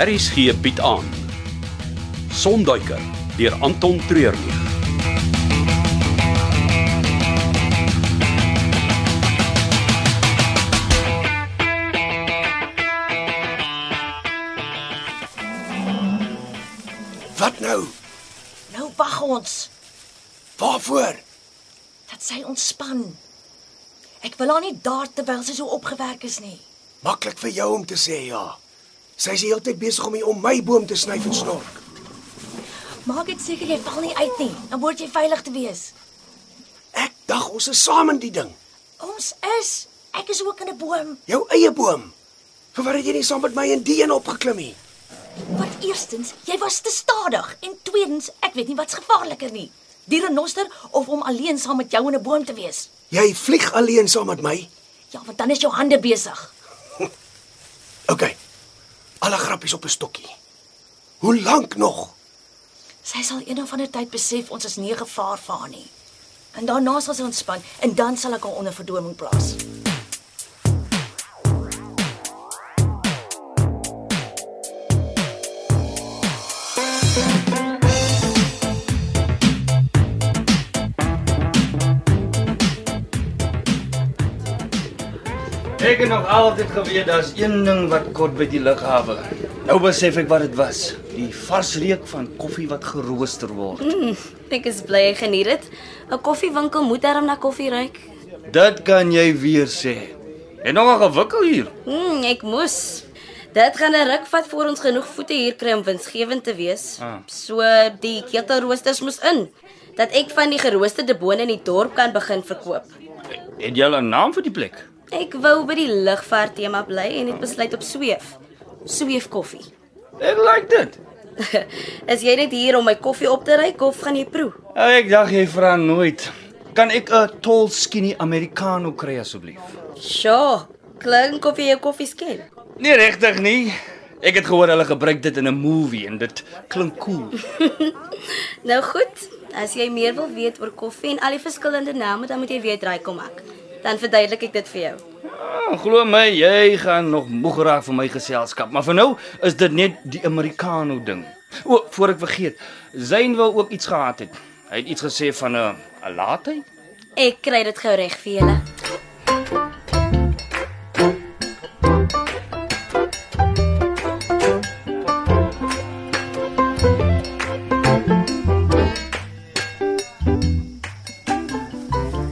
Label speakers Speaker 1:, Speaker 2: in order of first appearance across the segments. Speaker 1: RSG bied aan Sonduiker deur Anton Treurnig.
Speaker 2: Wat nou?
Speaker 3: Nou wag ons
Speaker 2: Waarvoor?
Speaker 3: dat sy ontspan. Ek wil haar nie daar terwyl sy so opgewerk is nie.
Speaker 2: Maklik vir jou om te sê ja. Sy's die hele tyd besig om hier om my boom te sny en snork.
Speaker 3: Maak dit seker jy val nie uit nie, dan word jy veilig te wees.
Speaker 2: Ek dag ons is saam in die ding.
Speaker 3: Ons is, ek is ook in 'n boom
Speaker 2: Jou eie boom. Vir wat het jy nie saam met my in die een opgeklim nie?
Speaker 3: Want eerstens, jy was te stadig en tweedens, ek weet nie wat's gevaarliker nie. Die renoster of om alleen saam met jou in 'n boom te wees.
Speaker 2: Jy vlieg alleen saam met my.
Speaker 3: Ja, want dan is jou hande besig.
Speaker 2: OK. Alle grappies op 'n stokkie. Hoe lank nog?
Speaker 3: Sy sal eendag van 'n tyd besef ons is nie 'n gevaar vir haar nie. En daarna sal sy ontspan en dan sal ek haar onder verdoming plaas.
Speaker 4: Ek het nog altyd geweet daar's een ding wat kort by die lughawe. Nou besef ek wat dit was. Die vars reuk van koffie wat gerooster word.
Speaker 5: Mm, Ek is bly jy geniet dit. 'n Koffiewinkel moet darm na koffie ruik.
Speaker 4: Dit kan jy weer sê. En nog 'n gewikkel hier.
Speaker 5: Mm, ek moes. Dit gaan 'n ruk vat voor ons genoeg voete hier kry om winsgewend te wees.
Speaker 4: Ah.
Speaker 5: So die ketelroosters moes in dat ek van die geroosterde bone in die dorp kan begin verkoop.
Speaker 4: Het jy 'n naam vir die plek?
Speaker 5: Ek wou by die ligvaart tema bly en het besluit op sweef. Sweef koffie.
Speaker 4: Ek like dit.
Speaker 5: is jy net hier om my koffie op te ruik of gaan jy proe?
Speaker 4: Nou, Ek dink jy vra nooit. Kan ek 'n tall skinny americano kry asseblief?
Speaker 5: Sjoe, klink of jy jou koffie skel.
Speaker 4: Nee, regtig nie. Ek het gehoor hulle gebruik dit in 'n movie en dit klink cool.
Speaker 5: Nou goed, as jy meer wil weet oor koffie en al die verskillende name, dan moet jy weet raai kom ek. Dan verduidelik ek dit vir jou.
Speaker 4: Ah, glo my, jy gaan nog moeg raak van my geselskap, maar vir nou is dit net die Americano ding. O, voor ek vergeet, Zayn wou ook iets gehad het. Hy het iets gesê van eh, 'n 'n latte.
Speaker 5: Ek kry dit gou reg vir julle.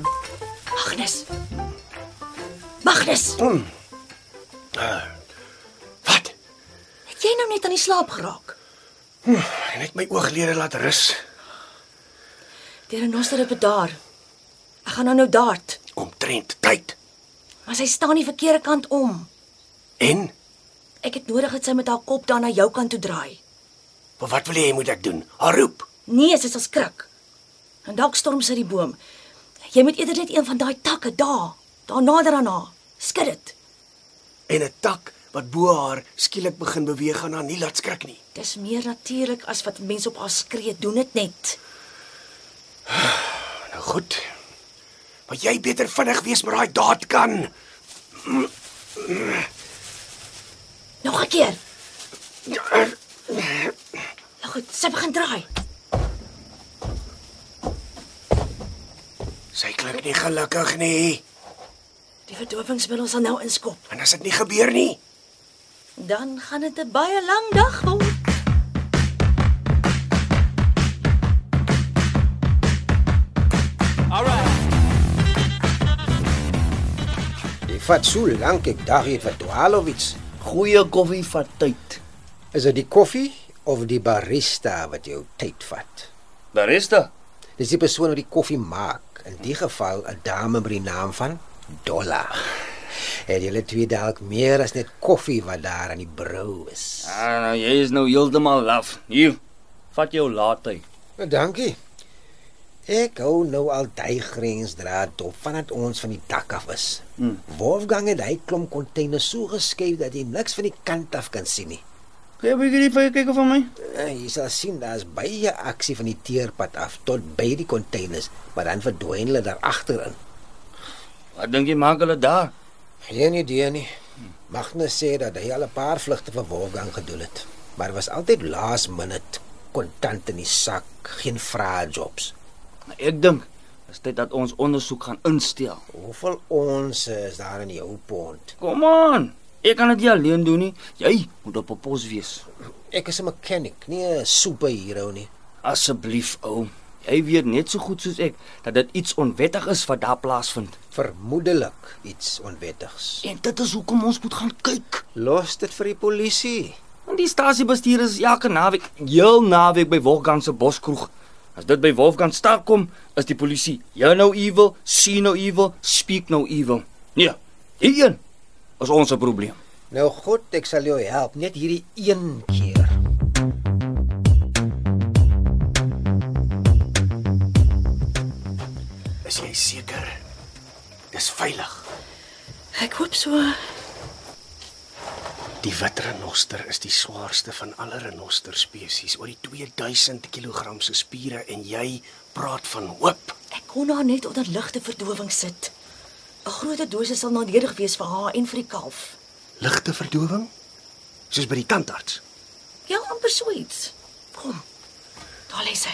Speaker 3: Magnus. Magnus,
Speaker 2: Eh, Wat?
Speaker 3: het jy nou net aan die slaap geraak?
Speaker 2: En ek my ooglede laat rus
Speaker 3: Die renoster het bedaar. Ek gaan nou nou daart,
Speaker 2: omtrent tyd.
Speaker 3: maar sy staan die verkeerde kant om.
Speaker 2: En
Speaker 3: Ek het nodig dat sy met haar kop dan na jou kant toe draai.
Speaker 2: maar wat wil jy moet ek doen? Haar roep.
Speaker 3: Nee, sy sal skrik. En dalk storm sy die boom. Jy moet eerder net een van daai takke daar, daar nader aan haar. Skud dit.
Speaker 2: En 'n tak wat bo haar skielik begin beweeg gaan haar nie laat skrik nie.
Speaker 3: Dis meer natuurlik as wat mense op haar skree. Doen dit net.
Speaker 2: Nou goed. Maar jy beter vinnig wees met daai daad kan.
Speaker 3: Nog 'n keer. Nou goed, sy begin draai.
Speaker 2: Sy klink nie gelukkig nie.
Speaker 3: Die verdowingsmiddel sal nou inskop.
Speaker 2: En as dit nie gebeur nie,
Speaker 3: Dan gaan dit 'n baie lang dag word.
Speaker 6: Dit vat so lank ek dag hier vir Dwalovic.
Speaker 7: Goeie koffie vat tyd.
Speaker 6: Is dit die koffie of die barista wat jou tyd vat?
Speaker 4: Barista.
Speaker 6: Dis die persoon wat die koffie maak. In die geval 'n dame met die naam van Dolla. Het julle twee dalk meer as net koffie wat daar aan die brou is.
Speaker 4: Ah, nou jy is nou heeltemal laf. Hier. Vat jou latte.
Speaker 6: Nou, Dankie. Ek hou nou al daai grensdraad dop vandat ons van die dak af is. Hmm. Wolfgang het hy klomp containers so geskuif dat jy niks van die kant af kan sien nie.
Speaker 4: Kan jy bietjie vir kyk vir my?
Speaker 6: Eh, Jy sal sien daar's baie aksie van die teerpad af tot by die containers, maar dan verdwyn hulle daar agterin.
Speaker 4: Wat dink jy maak hulle daar?
Speaker 6: Geen idee nie. Magnus sê dat hy al 'n paar vlugte vir Wolfgang gedoen het, maar was altyd laas minute, kontant in die sak, geen vrae jobs.
Speaker 4: Maar Nou, ek dink is dit dat ons ondersoek gaan instel.
Speaker 6: Hoeveel ons is daar in jou pond?
Speaker 4: Kom aan. Ek kan dit nie alleen doen nie. Jy moet op 'n pos wees.
Speaker 6: Ek is 'n mechanic, nie 'n superhero nie.
Speaker 4: Asseblief, ou. Jy weet net so goed soos ek dat dit iets onwettig is wat daar plaasvind.
Speaker 6: Vermoedelik iets onwettigs.
Speaker 4: En dit is hoekom ons moet gaan kyk.
Speaker 6: Los dit vir die polisie.
Speaker 4: Want die stasiebestuur is elke naweek, heel naweek by Wolfgang se boskroeg. As dit by Wolfgang staan kom, is die polisie, you know evil, see no evil, speak no evil. Nee, hierdie een is ons se probleem.
Speaker 6: Nou goed, ek sal jou help, net hierdie een keer.
Speaker 2: Is jy seker? Dis veilig.
Speaker 3: Ek hoop so.
Speaker 2: Die wit renoster is die swaarste van alle renosterspesies, oor die 2000 kg se spiere en jy praat van hoop.
Speaker 3: Ek kon haar net onder ligte verdowing sit. 'n Groot dosis sal nadelig wees vir haar en vir die kalf.
Speaker 2: Ligte verdowing? Soos by die tandarts.
Speaker 3: Ja, amper so iets. Kom. Daar lê sy.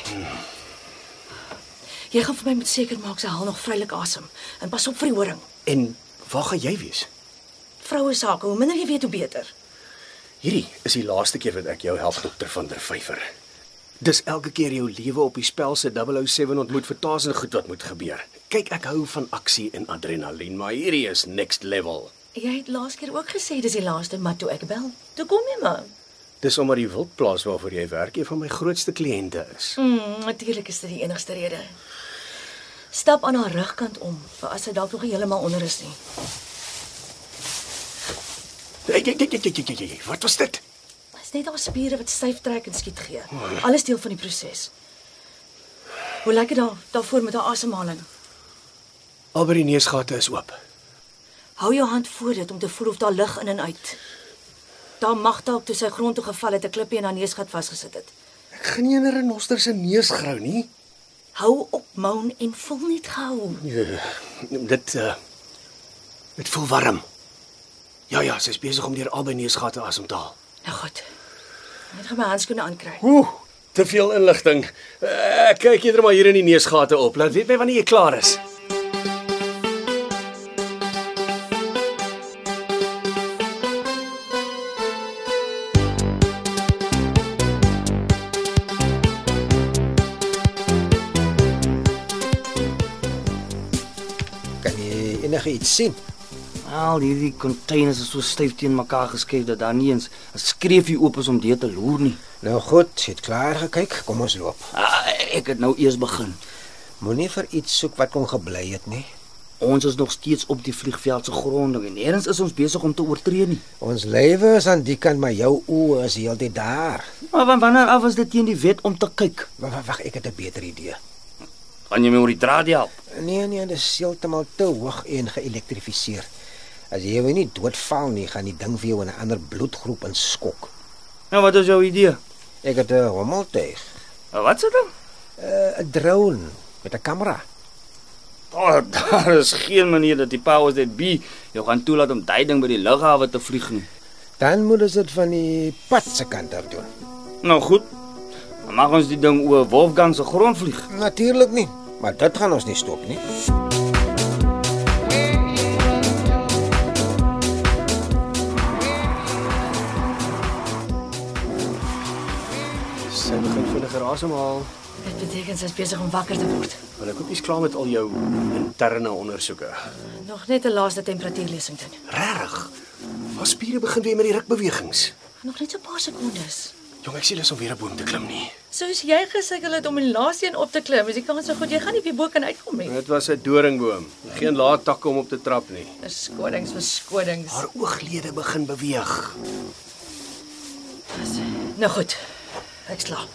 Speaker 3: Jy gaan vir my moet seker maak sy haal nog vrylik asem en pas op vir die horing.
Speaker 2: En waar gaan jy wees?
Speaker 3: Vroue sake, hoe minder jy weet hoe beter.
Speaker 2: Hierdie is die laaste keer wat ek jou help, dokter van der Vyver. Dis elke keer jou lewe op die spel se 007 ontmoet vir tasen goed wat moet gebeur. Kyk, ek hou van aksie en adrenalien, maar hierdie is next level.
Speaker 3: Jy het laas keer ook gesê dis die laaste maar toe ek bel. Toe kom jy maar.
Speaker 2: Dis omdat die wildplaas waarvoor jy werk een van my grootste kliënte is.
Speaker 3: Mm, natuurlik is dit die enigste rede. Stap aan haar rugkant om vir as sy dalk nog nie heeltemal onder is nie.
Speaker 2: Hey, hey, hey, hey, hey, hey, hey, hey, Wat was dit?
Speaker 3: Dis net haar spiere wat styf trek en skiet gee. Alles deel van die proses. Hoe lyk dit daar daarvoor met haar asemhaling?
Speaker 2: Al by die neusgate is oop.
Speaker 3: Hou jou hand voor dit om te voel of daar lug in en uit. Daar mag dalk toe sy grond toe geval het 'n klippie in haar neusgat vasgesit het.
Speaker 2: Ek gaan nie in 'n renoster se neus grou nie.
Speaker 3: Hou op moan en voel net gehou.
Speaker 2: Ja, dit uh dit voel warm. Ja ja, sy's besig om deur albei neusgate asem te haal.
Speaker 3: Nou goed. Net gaan my handskoene aankry.
Speaker 2: Ooh, te veel inligting. Eh, Ek kyk eerder maar hier in die neusgate op. Laat weet my wanneer jy klaar is.
Speaker 6: Kan jy enigiets sien?
Speaker 4: Al hierdie containers is so styf teen mekaar geskuif dat daar nie eens 'n skreefie oop is om deur te loer nie.
Speaker 6: Nou goed, jy het klaar gekyk, kom ons loop.
Speaker 4: Ah, ek het nou eers begin.
Speaker 6: Moenie vir iets soek wat kon gebly het nie.
Speaker 4: Ons is nog steeds op die vliegveld se grond en nêrens is ons besig om te oortree nie.
Speaker 6: Ons lewe is aan die kant, maar jou oë is heeltyd daar.
Speaker 4: Maar van wanneer af is dit teen die wet om te kyk?
Speaker 6: Wag, wag, wag, ek het 'n beter idee.
Speaker 4: Kan jy my oor die draad help?
Speaker 6: Nee, nee, dis heeltemal te hoog en geelektrifiseer. As jy hom nie doodval nie, gaan die ding vir jou in 'n ander bloedgroep inskok.
Speaker 4: Nou wat is jou idee?
Speaker 6: Ek het 'n hommeltuig,
Speaker 4: Nou, Wat se ding?
Speaker 6: 'n 'n drone met 'n kamera.
Speaker 4: Oh, daar is geen manier dat die powers that be jou gaan toelaat om daai ding by die lughawe te vlieg nie.
Speaker 6: Dan moet ons dit van die pad se kant af doen.
Speaker 4: Nou goed. Dan mag ons die ding oor Wolfgang se grond vlieg.
Speaker 6: Natuurlik nie, maar dit gaan ons nie stop nie.
Speaker 2: Sy begin vinniger asemhaal.
Speaker 3: Dit beteken sy is besig om wakker te word.
Speaker 2: Wil ek ook nie klaar met al jou interne ondersoeke.
Speaker 3: Nog net 'n laaste temperatuurlesing doen.
Speaker 2: Regtig. Haar spiere begin weer met die rukbewegings.
Speaker 3: Nog net so 'n paar sekondes.
Speaker 2: Jong, ek sien lus om weer 'n boom te klim nie.
Speaker 3: Soos jy gesukkel het om die laaste een op te klim, is die kans so goed jy gaan nie weer bo kan uitkom nie.
Speaker 2: Dit was 'n doringboom. Geen laat takke om op te trap nie.
Speaker 3: Verskonings, verskonings.
Speaker 2: Haar ooglede begin beweeg.
Speaker 3: Nou goed. Ek slaap.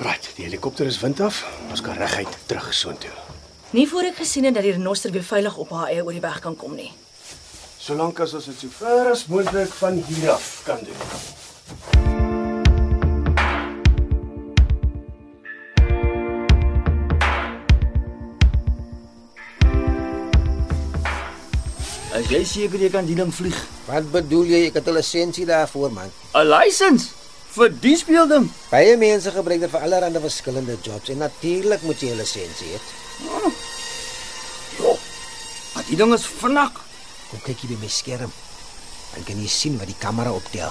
Speaker 2: Right, die helikopter is wind af. Ons kan reguit terug soontoe.
Speaker 3: Nie voor ek gesien het dat die renoster weer veilig op haar eie oor die weg kan kom nie.
Speaker 2: Solank as ons dit so ver as moontlik van hier af kan doen.
Speaker 4: As jy seker jy kan die ding vlieg.
Speaker 6: Wat bedoel jy? Ek het 'n lisensie daarvoor, man.
Speaker 4: 'n License vir die speelding.
Speaker 6: Baie mense gebruik dit vir allerlei verskillende jobs en natuurlik moet jy 'n lisensie hê.
Speaker 4: Jo. Maar die ding is vinnig.
Speaker 6: Kom kyk hier by my skerm. Dan kan jy sien wat die kamera optel.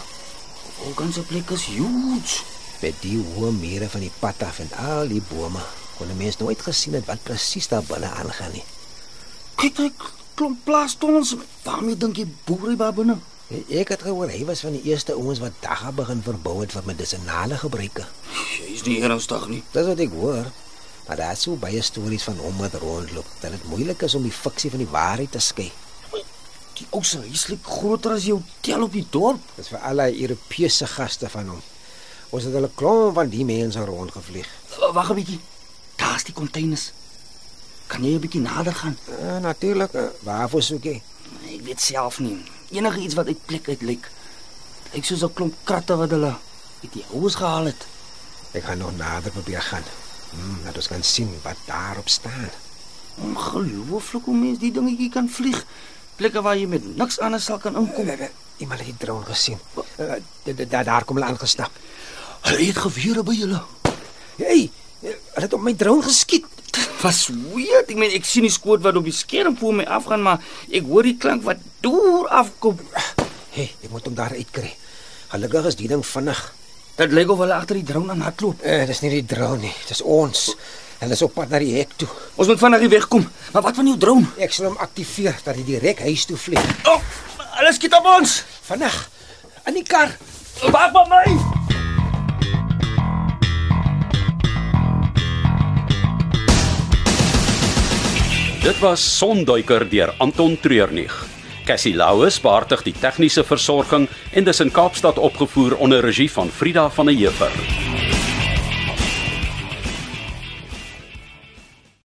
Speaker 4: Hoe kan se plek is huge.
Speaker 6: Met die hoë mure van die pad af en al die bome kon 'n mens nooit gesien het wat presies daar binne aangaan nie.
Speaker 4: Kyk hy klomp plaastons. Waarmee dink jy boere daar binne?
Speaker 6: En Ek het gehoor hy was van die eerste ouens wat dagga begin verbou het vir medisonale gebruike.
Speaker 4: Jy's nie ernstig nie.
Speaker 6: Dis wat ek hoor. Maar daar is so baie stories van hom wat rondloop dat dit moeilik is om die fiksie van die waarheid te skei.
Speaker 4: Die ou se huis lyk groter as jou tel op die dorp.
Speaker 6: Dis vir al die Europese gaste van hom. Ons het hulle klomp van die mense rondgevlieg.
Speaker 4: W- Wag 'n bietjie. Daar's die containers. Kan jy 'n bietjie nader gaan?
Speaker 6: Uh, Natuurlik, uh, waarvoor soek jy?
Speaker 4: Ek Nee, weet self nie. Enige iets wat uit plek uit lyk. Ek soos 'n klomp kratte wat hulle uit die oues gehaal het.
Speaker 6: Ek gaan nog nader probeer gaan. Hmm, laat ons kan sien wat daarop staan.
Speaker 4: Ongelooflik hoe mens die dingetjie kan vlieg. Plekke waar jy met niks anders sal kan inkom.
Speaker 6: Iemand het die drone gesien. Uh, da- da- da- daar kom hulle aangestap.
Speaker 4: Hulle het gewere by hulle.
Speaker 6: Hey, eh, hulle het op my drone geskiet.
Speaker 4: Dit was weird. Ek meen ek sien die skoot wat op die skerm voor my afgaan, maar ek hoor die klank wat deur afkom.
Speaker 6: Hey, ek moet hom daar uitkry. Gelukkig is die ding vinnig.
Speaker 4: Dit lyk of hulle agter die drone aan hardloop.
Speaker 6: Uh, dis nie die drone nie, dis ons. Hulle is op pad na die hek toe.
Speaker 4: Ons moet vinnig hier wegkom. Maar wat van jou drone?
Speaker 6: Ek sal hom aktiveer dat hy direk huis toe vlieg.
Speaker 4: Oh, hulle skiet op ons.
Speaker 6: Vinnig. In die kar.
Speaker 4: Wag vir my.
Speaker 1: Dit was Sonduiker deur Anton Treurnig. Cassie Louws beheerdig die tegniese versorging en dis in Kaapstad opgevoer onder regie van Frida van der Heever.